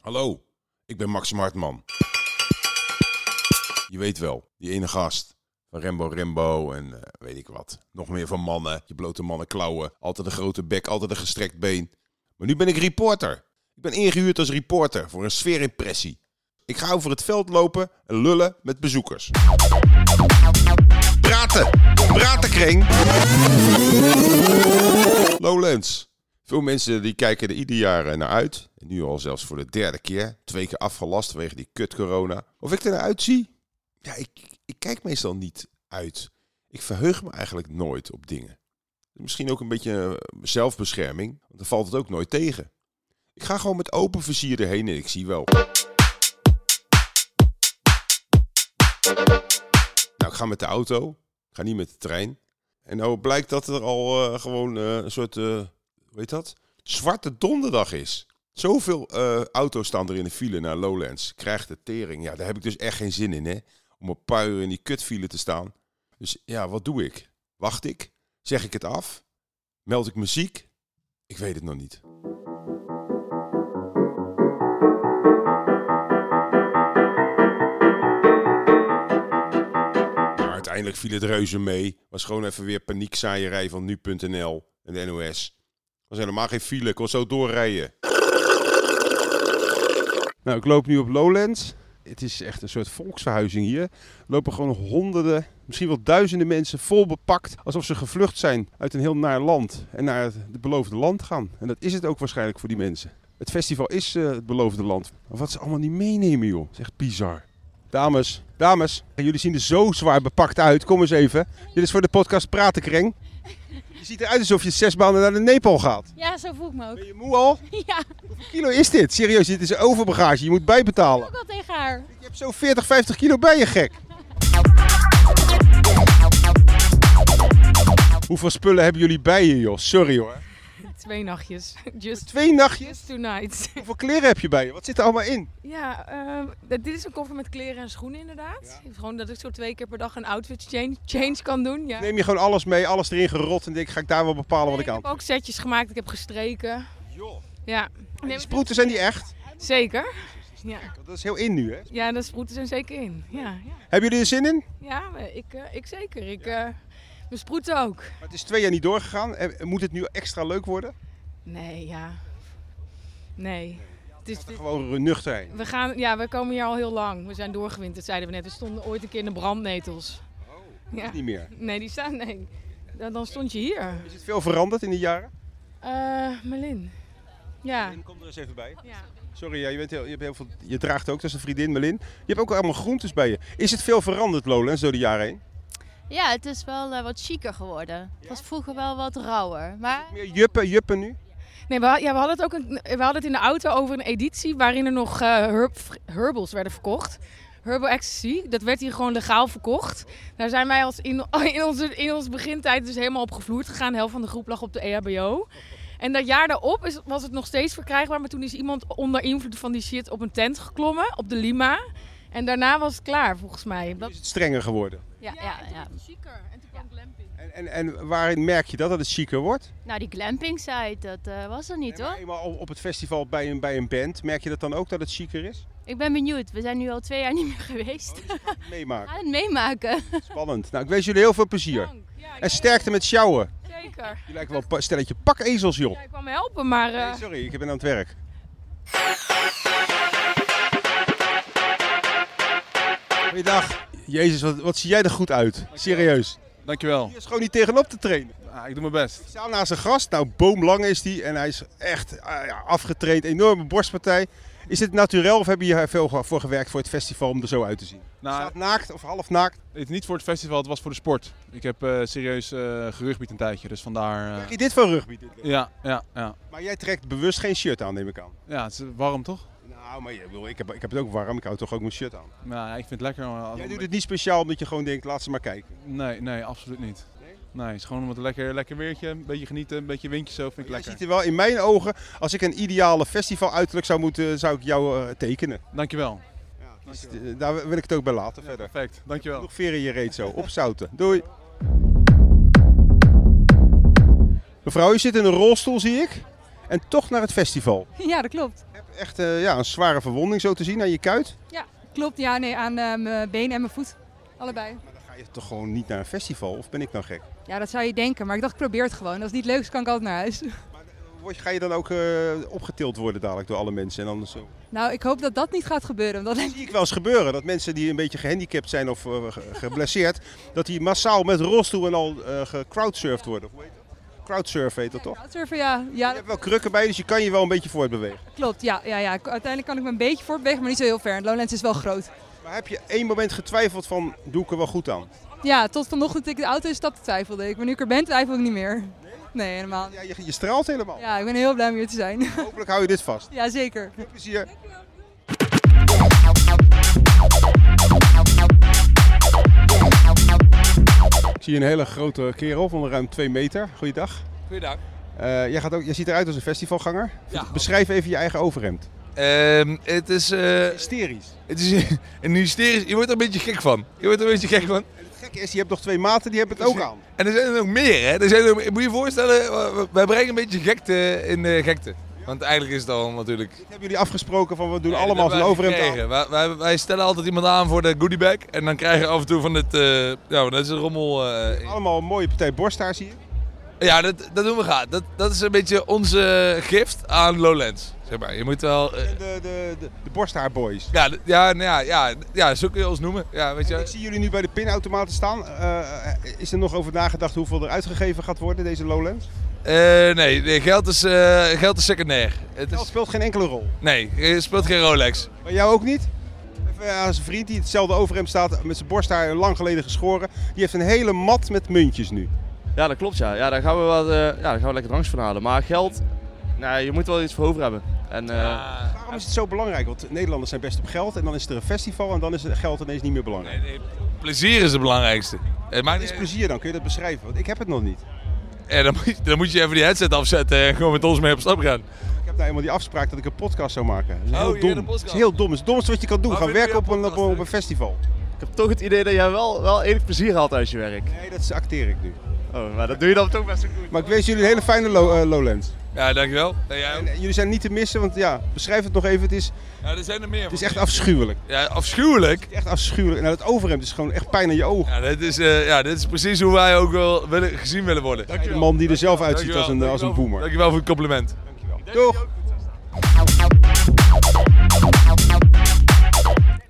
Hallo, ik ben Max Martman. Je weet wel, die ene gast van Rembo Rembo en eh, weet ik wat. Nog meer van mannen, je blote mannen klauwen. Altijd een grote bek, altijd een gestrekt been. Maar nu ben ik reporter. Ik ben ingehuurd als reporter voor een sfeerimpressie. Ik ga over het veld lopen en lullen met bezoekers. Praten! Pratenkring! Lowlands. Veel mensen die kijken er ieder jaar eh, naar uit. En nu al zelfs voor de derde keer. Twee keer afgelast vanwege die kut corona. Of ik er naar uitzie? Ja, ik, ik kijk meestal niet uit. Ik verheug me eigenlijk nooit op dingen. Misschien ook een beetje eh, zelfbescherming. Want dan valt het ook nooit tegen. Ik ga gewoon met open vizier erheen en ik zie wel. Nou, ik ga met de auto. Ik ga niet met de trein. En nou blijkt dat er al eh, gewoon eh, een soort... eh, hoe heet dat? Zwarte donderdag is. Zoveel eh, auto's staan er in de file naar Lowlands. Krijgt de tering. Ja, daar heb ik dus echt geen zin in, hè. Om een paar uur in die kutfile te staan. Dus ja, wat doe ik? Wacht ik? Zeg ik het af? Meld ik me ziek? Ik weet het nog niet. Maar uiteindelijk viel het reuze mee. Was gewoon even weer paniekzaaierij van nu.nl en de NOS. Was helemaal geen file, ik kon zo doorrijden. Nou, ik loop nu op Lowlands. Het is echt een soort volksverhuizing hier. Er lopen gewoon honderden, misschien wel duizenden mensen vol bepakt. Alsof ze gevlucht zijn uit een heel naar land. En naar het het beloofde land gaan. En dat is het ook waarschijnlijk voor die mensen. Het festival is eh, het beloofde land. Maar wat ze allemaal niet meenemen, joh. Dat is echt bizar. Dames, dames, jullie zien er zo zwaar bepakt uit. Kom eens even. Dit is voor de podcast Pratenkreng. Je ziet eruit alsof je zes maanden naar de Nepal gaat. Ja, zo voel ik me ook. Ben je moe al? Ja, ik Hoeveel kilo is dit? Serieus, dit is overbagage. Je moet bijbetalen. ook al tegen haar. Je hebt zo 40, 50 kilo bij je, gek. Hoeveel spullen hebben jullie bij je, joh? Sorry hoor. Twee nachtjes. Just, Twee nachtjes. just two nights. Hoeveel kleren heb je bij je? Wat zit er allemaal in? Ja, ehm, dat- dit is een koffer met kleren en schoenen inderdaad. Gewoon dat ik zo twee keer per dag een outfit change, change kan doen. Ja. Neem je gewoon alles mee, alles erin gerot en denk, ga ik daar wel bepalen wat ik ik aan. heb ook setjes gemaakt, ik heb gestreken. Joh. Ja, Die sproeten zijn die echt? zeker. Ja, Dat is heel in nu, hè? ja de sproeten zijn zeker in. Ja, ja. Hebben jullie er zin in? ja maar ik, eh, ik zeker. Ik, eh, mijn sproeten ook. Maar het is twee jaar niet doorgegaan. En Moet het nu extra leuk worden? Nee, ja. Nee. Het is, dit- Gewoon nuchter heen. we, gaan, ja, we komen hier al heel lang. We zijn doorgewinterd, zeiden we net. We stonden ooit een keer in de brandnetels. Ja. Niet meer. Nee, die staan. Nee. Dan, dan stond je hier. Is het veel veranderd in die jaren? Eh Melin. Ja. Kom er eens even bij. ja. Sorry, ja, je, bent heel, je, hebt heel veel, je draagt ook, dat is een vriendin, Melin. Je hebt ook allemaal groentes bij je. Is het veel veranderd, Lowlands, door de jaren heen? Ja, het is wel eh, wat chiquer geworden. Het was vroeger wel wat rauwer. Maar Meer juppen, juppen nu? Nee, we, had- ja, we hadden het ook een, we hadden het in de auto over een editie waarin er nog eh, herb, herbals werden verkocht. Herbal ecstasy, dat werd hier gewoon legaal verkocht. Daar zijn wij als in, in, onze, in onze begintijd dus helemaal op gevloerd gegaan. De helft van de groep lag op de E EHBO. En dat jaar daarop is, was het nog steeds verkrijgbaar. Maar toen is iemand onder invloed van die shit op een tent geklommen, op de Lima. En daarna was het klaar, volgens mij. Is het strenger geworden? ja, ja, ja. chiquer. En toen kwam glamping. En, en, en waarin merk je dat, dat het chiquer wordt? Nou, die glamping site, dat eh, was er niet Nee, maar hoor. eenmaal op- op het festival bij een, bij een band, merk je dat dan ook dat het chiquer is? Ik ben benieuwd. We zijn nu al twee jaar niet meer geweest. Oh, We Meemaken. gaan het meemaken. Spannend. Nou, ik wens jullie heel veel plezier. Ja, En sterkte met sjouwen. zeker. Je lijkt wel een pa- stelletje pakezels, joh. Ja, ik kwam helpen, maar... eh, Nee, sorry, ik ben aan het werk. Goeiedag. Jezus, wat, wat zie jij er goed uit. Serieus. Dankjewel. Die is gewoon niet tegenop te trainen. Ah, ik doe mijn best. Ik sta naast een gast, nou boomlang is die en hij is echt ah, ja, afgetraind, enorme borstpartij. Is dit naturel of heb je hier veel voor gewerkt voor het festival om er zo uit te zien? Nou, Staat naakt of half naakt? het niet voor het festival, het was voor de sport. Ik heb eh, serieus eh gerugbied een tijdje, dus vandaar... eh, Krijg je dit van rugby? Dit? ja, ja, ja. Maar jij trekt bewust geen shirt aan, neem ik aan. Ja, het is warm toch? Nou, maar je, wil- ik, heb, ik heb het ook warm, ik hou toch ook mijn shirt aan. Nou, ja, ik vind het lekker. maar- Jij doet het niet speciaal omdat je gewoon denkt, laat ze maar kijken. Nee, nee, absoluut niet. Nee? Nee, het is gewoon omdat het lekker, lekker weertje, een beetje genieten, een beetje windje zo, vind ik Oh, Jij lekker. ziet er wel in mijn ogen, als ik een ideale festival uiterlijk zou moeten, zou ik jou eh, tekenen. Dankjewel. Dus, eh, daar wil ik het ook bij laten verder. Perfect, dankjewel. Nog veren in je reet zo, opzouten. Doei. Mevrouw, u zit in een rolstoel, zie ik. En en toch naar het festival. Ja, dat klopt. Je hebt echt eh, ja, een zware verwonding zo te zien aan je kuit. Klopt, ja, nee, aan eh, mijn been en mijn voet. Allebei. Maar dan ga je toch gewoon niet naar een festival? Of ben ik nou gek? Ja, dat zou je denken, maar ik dacht, ik probeer het gewoon. Als het niet leuk is, kan ik altijd naar huis. Word je- Ga je dan ook eh, opgetild worden dadelijk door alle mensen? En anders zo? Nou, ik hoop dat dat niet gaat gebeuren. want dat- zie ik wel eens gebeuren. Dat mensen die een beetje gehandicapt zijn of eh, ge- geblesseerd, dat die massaal met rolstoel en al eh gecrowdsurfd worden. Hoe heet dat? Crowdsurf heet dat toch? Crowdsurfen, ja. ja, Je hebt wel krukken bij, dus je kan je wel een beetje voortbewegen. dat klopt. Ja, ja, ja. Uiteindelijk kan ik me een beetje voortbewegen, maar niet zo heel ver. En Lowlands is wel groot. Maar heb je één moment getwijfeld van, doe ik er wel goed aan? Ja, tot vanochtend ik de auto in stapte twijfelde ik. Maar nu ik er ben, twijfel ik niet meer. Nee, helemaal niet. Ja, je, je straalt helemaal. Ja, ik ben heel blij om hier te zijn. Hopelijk hou je dit vast. Ja, zeker. Veel plezier. Ik zie een hele grote kerel van ruim 2 meter. Goeiedag. Goedendag. Eh, jij, gaat ook, jij ziet eruit als een festivalganger. Ja. Beschrijf even je eigen overhemd. Ehm, het, is, eh, Hysterisch. het is een hysterisch. Je wordt er een beetje gek van. Je wordt er een beetje gek van. En het gekke is, je hebt nog twee maten, die hebben het ook aan. En er zijn er nog meer, hè? Er zijn er, moet je je voorstellen, eh, wij brengen een beetje gekte in de gekte. Want eigenlijk is het al natuurlijk. Dit hebben jullie afgesproken van we doen Nee, dat allemaal hebben zo'n wij overhemd aan. gekregen. Wij, wij, wij stellen altijd iemand aan voor de goodiebag. En dan krijgen we af en toe van het. eh, ja, dat is een rommel. eh, in. Allemaal een mooie partij borsthaar zie je. ja, dat, dat doen we graag. Dat, dat is een beetje onze gift aan Lowlands. Zeg maar. Je moet wel. eh, En de, de, de, de borsthaarboys. ja, d- ja, nou ja, ja, ja, zo kun je ons noemen. Ja, weet je. En Ik zie jullie nu bij de pinautomaten staan. Eh, is er nog over nagedacht hoeveel er uitgegeven gaat worden, deze Lowlands? Eh, nee, nee, geld is, eh, geld is secundair. Het Dat is, speelt geen enkele rol. nee, je speelt geen Rolex. Maar jou ook niet? Even aan zijn vriend die hetzelfde overhemd staat met zijn borsthaar lang geleden geschoren. Die heeft een hele mat met muntjes nu. Ja, dat klopt ja. Ja, daar gaan we, wat, eh, ja, daar gaan we lekker dranks van halen. Maar geld, nee, je moet wel iets voor over hebben. En, eh, Waarom is het zo belangrijk? Want Nederlanders zijn best op geld en dan is er een festival en dan is het geld ineens niet meer belangrijk. Nee, Eh, nee, plezier is het belangrijkste. Het maakt Wat is niet plezier dan? Kun je dat beschrijven? Want ik heb het nog niet. Eh, dan, moet je, dan moet je even die headset afzetten en gewoon met ons mee op stap gaan. Ik heb nou eenmaal die afspraak dat ik een podcast zou maken. Dat is Oh, heel je dom. wil een Dat is podcast? heel dom. Het is het domste wat je kan doen. Maar Gaan vinden werken we op een, jouw op, podcast op een festival. ik heb toch het idee dat jij wel, wel enig plezier haalt uit je werk. Nee, dat acteer ik nu. Oh, maar dat doe je dan toch best wel goed. Maar ik wens jullie een hele fijne lo- eh, Lowlands. Ja, dankjewel. En jij ook? En, eh, jullie zijn niet te missen, want ja, beschrijf het nog even. Het is, Ja, er zijn er meer. het is echt afschuwelijk. Ja, afschuwelijk. Echt afschuwelijk. En nou, het overhemd is gewoon echt pijn aan je ogen. Ja, dit is, eh, ja, dit is precies hoe wij ook eh, wel willen, gezien willen worden. De man die er zelf uitziet als een, als een boomer. Dankjewel voor het compliment. Toch?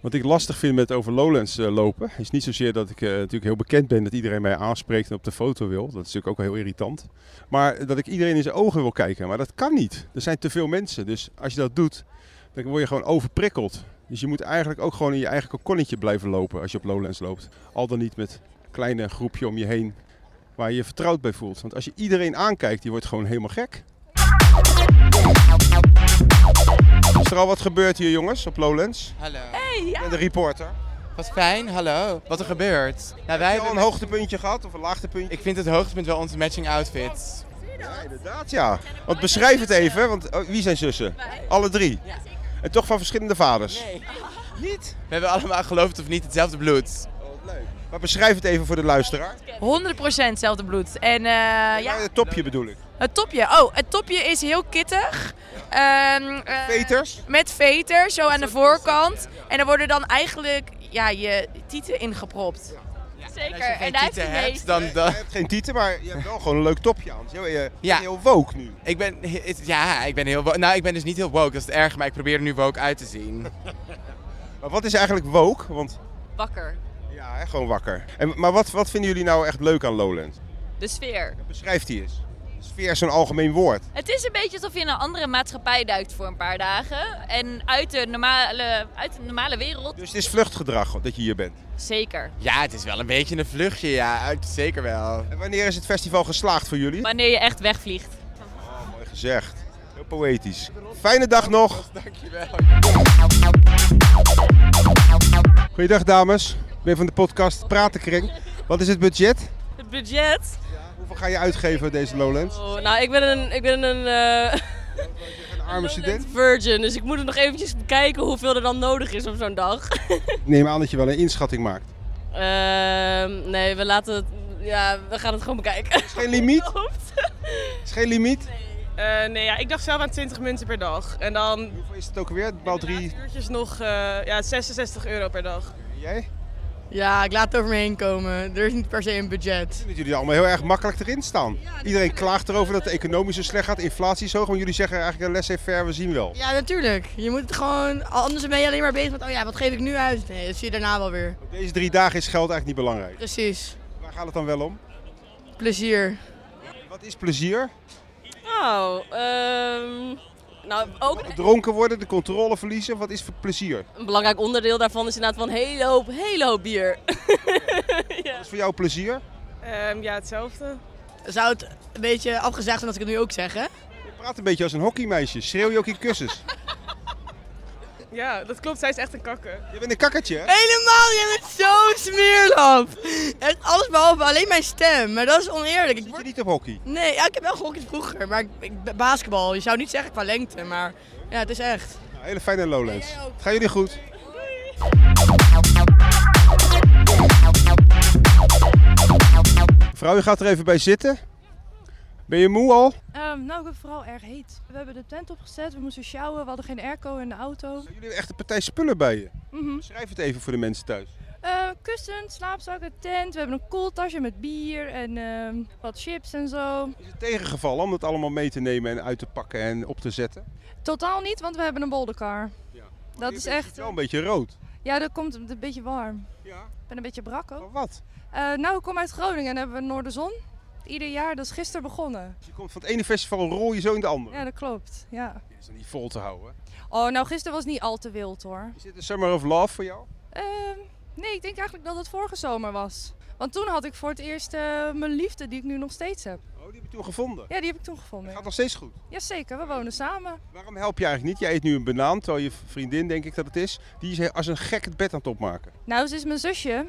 Wat ik lastig vind met over Lowlands eh, lopen, is niet zozeer dat ik eh, natuurlijk heel bekend ben dat iedereen mij aanspreekt en op de foto wil. Dat is natuurlijk ook wel heel irritant. Maar dat ik iedereen in zijn ogen wil kijken. Maar dat kan niet. Er zijn te veel mensen. Dus als je dat doet, dan word je gewoon overprikkeld. Dus je moet eigenlijk ook gewoon in je eigen kokonnetje blijven lopen als je op Lowlands loopt. Al dan niet met een kleine groepje om je heen waar je je vertrouwd bij voelt. Want als je iedereen aankijkt, die wordt gewoon helemaal gek. Is er al wat gebeurd hier, jongens, op Lowlands? Hallo. Ik ben de reporter. Wat fijn, hallo. Wat er gebeurt. Heb Nou, wij je al hebben... een hoogtepuntje gehad of een laagtepuntje? Ik vind het hoogtepunt wel onze matching outfits. Ja, inderdaad, ja. Want beschrijf het even, want oh, wie zijn zussen? Alle drie. En toch van verschillende vaders. Niet? We hebben allemaal geloofd of niet hetzelfde bloed. Oh, Maar beschrijf het even voor de luisteraar. 100% hetzelfde bloed. En eh, ja, Ja, het topje bedoel ik. het topje. Oh, het topje is heel kittig. Ehm, eh, Peters? Met veter, zo aan de voorkant. En er worden dan eigenlijk ja, je tieten ingepropt. Als Zeker. je geen tieten hebt, dan... Je dan... hebt geen tieten, maar je hebt wel gewoon een leuk topje aan. Je, je, Ja. heel woke nu. Ik ben... het- Ja, ik ben heel... wo- Nou, ik ben dus niet heel woke, dat is het erg, maar ik probeer er nu woke uit te zien. Maar wat is eigenlijk woke? Want Wakker. ja, hè, gewoon wakker. En, maar wat, wat vinden jullie nou echt leuk aan Lowlands? De sfeer. Beschrijf die eens. Sfeer is zo'n algemeen woord. Het is een beetje alsof je in een andere maatschappij duikt voor een paar dagen. En uit de normale, uit de normale wereld. Dus het is vluchtgedrag dat je hier bent. Zeker. Ja, het is wel een beetje een vluchtje, ja. uit- Zeker wel. En wanneer is het festival geslaagd voor jullie? Wanneer je echt wegvliegt. Mooi gezegd. Heel poëtisch. Fijne dag nog. Dankjewel. Goeiedag dames. Ik ben van de podcast Pratenkring. Wat is het budget? Het budget. Hoeveel ga je uitgeven deze Lowlands? Oh, nou, ik ben een, ik ben een eh, Een arme student? virgin, dus ik moet het nog eventjes bekijken hoeveel er dan nodig is op zo'n dag. Ik neem aan dat je wel een inschatting maakt. Ehm, nee, we laten het... Ja, we gaan het gewoon bekijken. Is geen limiet? Is geen limiet? Eh, nee, ja, ik dacht zelf aan 20 munten per dag. En dan Hoeveel is het ook weer? Maal drie. uurtjes nog eh, ja, 66 euro per dag. Jij? Ja, ik laat het over me heen komen. Er is niet per se een budget. Dat jullie allemaal heel erg makkelijk erin staan. Iedereen klaagt erover dat de economie zo slecht gaat, inflatie is hoog. Maar jullie zeggen eigenlijk eh, laissez-faire, we zien wel. Ja, natuurlijk. Je moet het gewoon... Anders ben je alleen maar bezig met... Oh ja, wat geef ik nu uit? Nee, dat zie je daarna wel weer. Deze drie dagen is geld eigenlijk niet belangrijk. Precies. Waar gaat het dan wel om? Plezier. Wat is plezier? Oh, ehm nou ook Dronken worden, de controle verliezen. Wat is voor plezier? een belangrijk onderdeel daarvan is inderdaad van een hele hoop, hele hoop bier. Wat is voor jou plezier? ja, hetzelfde. Zou het een beetje afgezaagd zijn als ik het nu ook zeg, hè? Praat een beetje als een hockeymeisje. Schreeuw je ook in kussens. Ja, dat klopt. Zij is echt een kakker. Eh, Je bent een kakkertje, hè? Helemaal, jij bent zo'n smeerlap. Echt alles behalve alleen mijn stem. Maar dat is oneerlijk. Ik word... Niet op hockey. Nee, ja, ik heb wel gehockeyd vroeger. Maar ik, ik- basketbal, je zou niet zeggen qua lengte. Maar ja, het is echt. Nou, hele fijne Lowlands. Het Gaan jullie goed? Vrouw, je gaat er even bij zitten. Ben je moe al? Ehm, nou, ik ben vooral erg heet. We hebben de tent opgezet, we moesten sjouwen, we hadden geen airco in de auto. Jullie hebben echt een partij spullen bij je. Mhm. Schrijf het even voor de mensen thuis. Eh, kussens, slaapzakken, tent, we hebben een koeltasje met bier en ehm, wat chips en zo. Tegengevallen om dat allemaal mee te nemen en uit te pakken en op te zetten. Totaal niet, want we hebben een boldercar. Dat is echt... Wel een beetje rood. Ja, dat komt een beetje warm. Ik ben een beetje brak ook. wat? nou, ik kom uit Groningen en hebben we Noorderzon. Ieder jaar, dat is gisteren begonnen. Je komt van het ene festival rol je zo in de andere. Ja, dat klopt. Ja. Dat is dan niet vol te houden. Oh, nou, gisteren was niet al te wild hoor. Is dit de Summer of Love voor jou? Oh, Ehm, nee, ik denk eigenlijk dat het vorige zomer was. Want toen had ik voor het eerst eh, mijn liefde, die ik nu nog steeds heb. Oh, die heb je toen gevonden. Ja, die heb ik toen gevonden. Gaat nog steeds goed. Jazeker, we wonen samen. Waarom help je eigenlijk niet? Jij eet nu een banaan, terwijl je vriendin, denk ik dat het is, die is als een gek het bed aan het opmaken. Nou, ze is mijn zusje.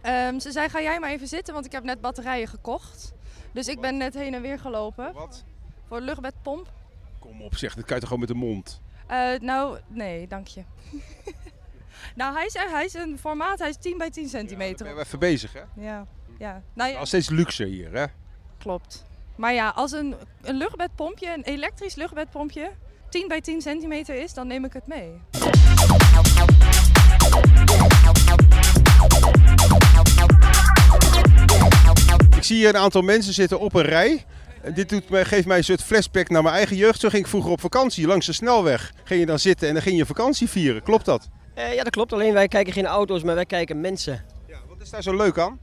Ehm, ze zei, ga jij maar even zitten, want ik heb net batterijen gekocht. Dus ik ben net heen en weer gelopen. Wat? Voor de luchtbedpomp. Kom op zeg, dat kan je toch gewoon met de mond? Eh, nou, nee, dank je. nou, hij is, hij is een formaat, hij is 10 bij 10 centimeter. We zijn even bezig hè? Ja, ja. Nou, ja. Al steeds luxe hier hè? Klopt. Maar ja, als een, een luchtbedpompje, een elektrisch luchtbedpompje, 10 bij 10 centimeter is, dan neem ik het mee. Ik zie hier een aantal mensen zitten op een rij. En Dit doet mij, geeft mij een soort flashback naar mijn eigen jeugd. Zo ging ik vroeger op vakantie langs de snelweg. Ging je dan zitten en dan ging je vakantie vieren. Klopt dat? Eh, ja, dat klopt. Alleen wij kijken geen auto's, maar wij kijken mensen. Eh, Wat is daar zo leuk aan?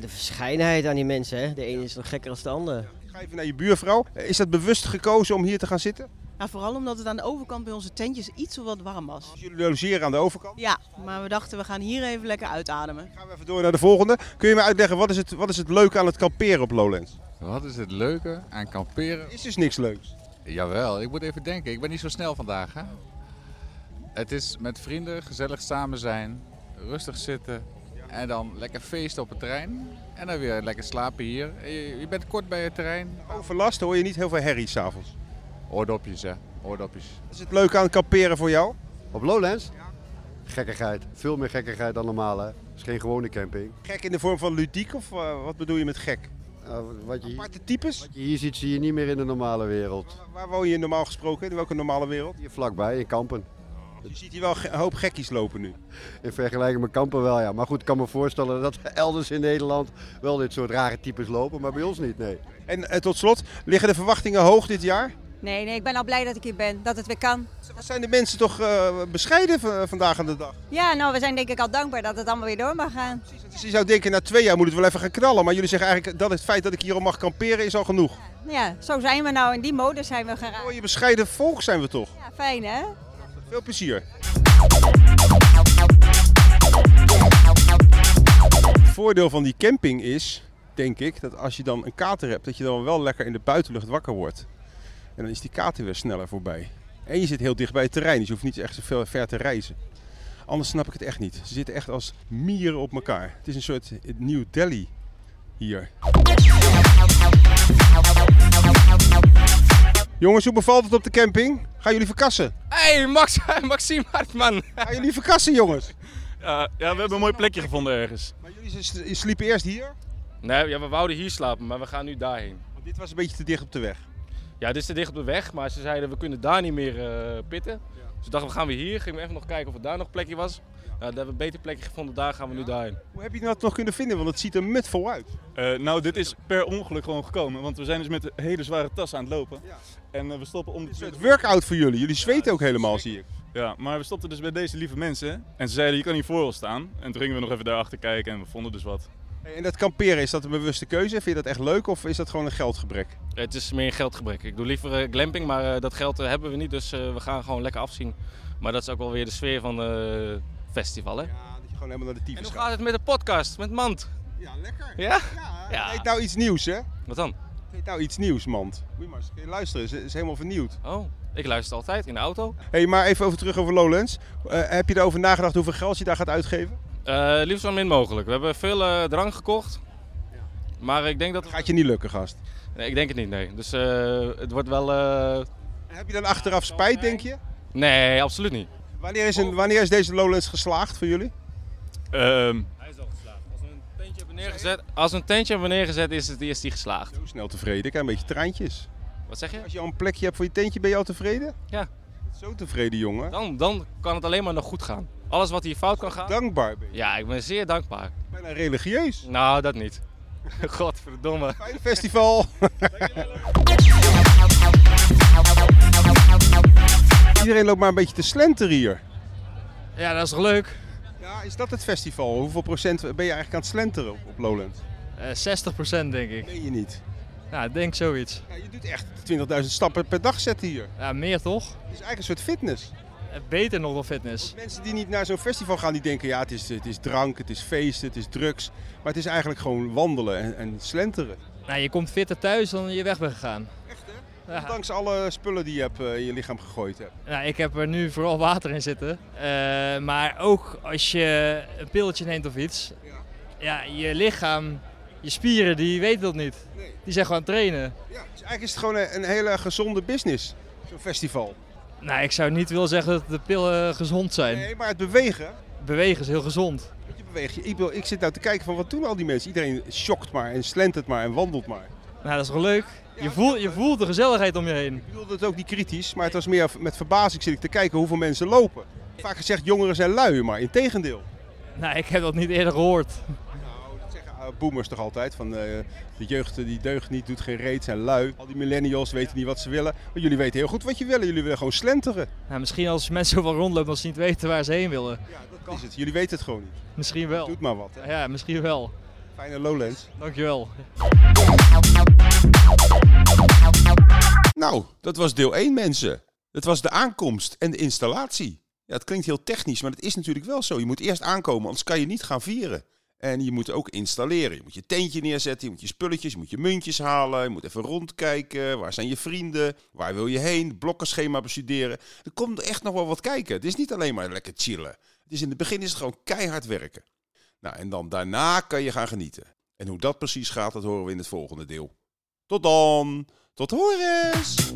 de verscheidenheid aan die mensen. Hè? De ene is nog gekker dan de ander. Ik ga even naar je buurvrouw. Eh, Is dat bewust gekozen om hier te gaan zitten? Nou, vooral omdat het aan de overkant bij onze tentjes iets wat warm was. Jullie logeren aan de overkant. Ja, maar we dachten we gaan hier even lekker uitademen. Even door naar de volgende. Kun je me uitleggen, wat is het, wat is het leuke aan het kamperen op Lowlands? Wat is het leuke aan kamperen? Is dus niks leuks. Jawel, ik moet even denken. Ik ben niet zo snel vandaag. Hè? Het is met vrienden gezellig samen zijn, rustig zitten en dan lekker feesten op het terrein. En dan weer lekker slapen hier. En Je, je bent kort bij het terrein. Overlast hoor je niet heel veel herrie s'avonds. Oordopjes, hè? Oordopjes. Wat is het leuke aan het kamperen voor jou? Op Lowlands? Gekkigheid. Veel meer gekkigheid dan normaal, hè. Het is geen gewone camping. Gek in de vorm van ludiek of eh, wat bedoel je met gek? Eh, wat je, Aparte types? Wat je hier ziet, zie je niet meer in de normale wereld. Waar woon je normaal gesproken? In welke normale wereld? Hier vlakbij, in Kampen. Je ziet hier wel ge- een hoop gekkies lopen nu. In vergelijking met Kampen wel, ja. Maar goed, ik kan me voorstellen dat elders in Nederland wel dit soort rare types lopen, maar bij ons niet, nee. En eh, tot slot, liggen de verwachtingen hoog dit jaar? Nee, nee, ik ben al blij dat ik hier ben, dat het weer kan. Wat zijn de mensen toch eh, bescheiden v- vandaag aan de dag? Ja, nou, we zijn denk ik al dankbaar dat het allemaal weer door mag gaan. Dus je zou denken, na twee jaar moet het wel even gaan knallen. Maar jullie zeggen eigenlijk dat het feit dat ik hier al mag kamperen is al genoeg. Ja, zo zijn we nou, in die mode zijn we geraakt. Mooie bescheiden volk zijn we toch? Ja, fijn hè? Veel plezier. Het voordeel van die camping is, denk ik, dat als je dan een kater hebt, dat je dan wel lekker in de buitenlucht wakker wordt. En dan is die kater weer sneller voorbij. En je zit heel dicht bij het terrein, dus je hoeft niet echt zo veel ver te reizen. Anders snap ik het echt niet. Ze zitten echt als mieren op elkaar. Het is een soort New Delhi hier. Jongens, hoe bevalt het op de camping? Gaan jullie verkassen? Hey, Max, Maxime Hartman. Gaan jullie verkassen, jongens? Ja, ja, we hebben een mooi plekje gevonden ergens. Maar jullie s- sliepen eerst hier? Nee, ja, we wouden hier slapen, maar we gaan nu daarheen. Dit was een beetje te dicht op de weg. Ja, dit is te dicht op de weg, maar ze zeiden we kunnen daar niet meer eh, pitten. Dus we dachten we gaan weer hier. Gingen we even nog kijken of er daar nog plekje was. Nou, daar hebben we een beter plekje gevonden, daar gaan we nu daarheen. Hoe heb je dat nog kunnen vinden? Want het ziet er mutvol uit. Eh, nou, dit is per ongeluk gewoon gekomen, want we zijn dus met een hele zware tas aan het lopen. En eh, we stoppen om de Het workout voor jullie. Jullie zweten ook helemaal, zie ik. Ja, maar we stopten dus bij deze lieve mensen en ze zeiden je kan hier voor ons staan. En toen gingen we nog even daarachter kijken en we vonden dus wat. Hey, En dat kamperen, is dat een bewuste keuze? Vind je dat echt leuk of is dat gewoon een geldgebrek? Het is meer geldgebrek. Ik doe liever eh, glamping, maar eh, dat geld eh, hebben we niet, dus eh, we gaan gewoon lekker afzien. Maar dat is ook wel weer de sfeer van het festival, hè? Ja, dat je gewoon helemaal naar de tyfus En hoe gaat het met de podcast, met Mand? Ja, lekker. Ja? Ja. Heet nou iets nieuws, hè? Wat dan? Heet nou iets nieuws, Mand. Moet je maar eens een keer luisteren, ze is helemaal vernieuwd. Oh, ik luister altijd in de auto. hey, maar even over, terug over Lowlands. Eh, heb je erover nagedacht hoeveel geld je daar gaat uitgeven? Eh, liefst zo min mogelijk. We hebben veel eh, drank gekocht. Maar ik denk dat... Gaat je niet lukken, gast. Nee, ik denk het niet, nee. Dus eh, het wordt wel... eh, Heb je dan achteraf spijt, denk je? Nee, absoluut niet. Wanneer is, een, wanneer is deze Lowlands geslaagd voor jullie? Ehm, Hij is al geslaagd. Als we een tentje hebben neergezet, als we een tentje hebben neergezet is, het, is die geslaagd. Hoe snel tevreden? Ik heb een beetje traantjes. Wat zeg je? Als je al een plekje hebt voor je tentje, ben je al tevreden? Ja. Zo tevreden, jongen. Dan, dan kan het alleen maar nog goed gaan. Alles wat hier fout kan gaan. Dankbaar ben Ja, ik ben zeer dankbaar. Bijna religieus. Nou, dat niet. Godverdomme. Fijn festival. Iedereen loopt maar een beetje te slenteren hier. Ja, dat is toch leuk? Ja, is dat het festival? Hoeveel procent ben je eigenlijk aan het slenteren op, op Lowland? 60 Eh, denk ik. Meen je niet? Ja, ik denk zoiets. je doet echt 20.000 stappen per dag zetten hier. Ja, meer toch? Eh, Het is eigenlijk een soort fitness. Beter nog dan fitness. Mensen die niet naar zo'n festival gaan, die denken ja, het is, het is drank, het is feesten, het is drugs. Maar het is eigenlijk gewoon wandelen en, en slenteren. Nou, je komt fitter thuis dan je weg bent gegaan. Ondanks alle spullen die je hebt, eh, in je lichaam gegooid hebt. Nou, ik heb er nu vooral water in zitten. Eh, maar ook als je een pilletje neemt of iets. Ja, je lichaam, je spieren, die weten dat niet. Die zijn gewoon aan het trainen. Dus eigenlijk is het gewoon een, een hele gezonde business, zo'n festival. Nou, ik zou niet willen zeggen dat de pillen gezond zijn. Nee, maar het bewegen. Bewegen is heel gezond. Je beweegt je. Ik, wil, ik zit nou te kijken van wat doen al die mensen? Iedereen shockt maar en slentert maar en wandelt maar. Nou, dat is wel leuk. Je, voelt, je voelt de gezelligheid om je heen. Ik bedoelde het ook niet kritisch, maar het was meer met verbazing zit ik te kijken hoeveel mensen lopen. Vaak gezegd jongeren zijn lui, maar in tegendeel. Nou, ik heb dat niet eerder gehoord. Nou, boomers toch altijd. Van eh, de jeugd eh, die deugt niet, doet geen reet, zijn lui. Al die millennials weten niet wat ze willen. Maar jullie weten heel goed wat je willen. Jullie willen gewoon slenteren. Nou, misschien als mensen zoveel rondlopen dat ze niet weten waar ze heen willen. Dat is het. Jullie weten het gewoon niet. Misschien wel. Doet maar wat. Ja, misschien wel. Fijne Lowlands. Dankjewel. Nou, dat was deel 1 mensen. Dat was de aankomst en de installatie. Ja, het klinkt heel technisch, maar dat is natuurlijk wel zo. Je moet eerst aankomen, anders kan je niet gaan vieren. En je moet ook installeren. Je moet je tentje neerzetten, je moet je spulletjes, je moet je muntjes halen. Je moet even rondkijken. Waar zijn je vrienden? Waar wil je heen? Blokkenschema bestuderen. Er komt echt nog wel wat kijken. Het is niet alleen maar lekker chillen. Het is in het begin is het gewoon keihard werken. Nou, en dan daarna kan je gaan genieten. En hoe dat precies gaat, dat horen we in het volgende deel. Tot dan! Tot horens!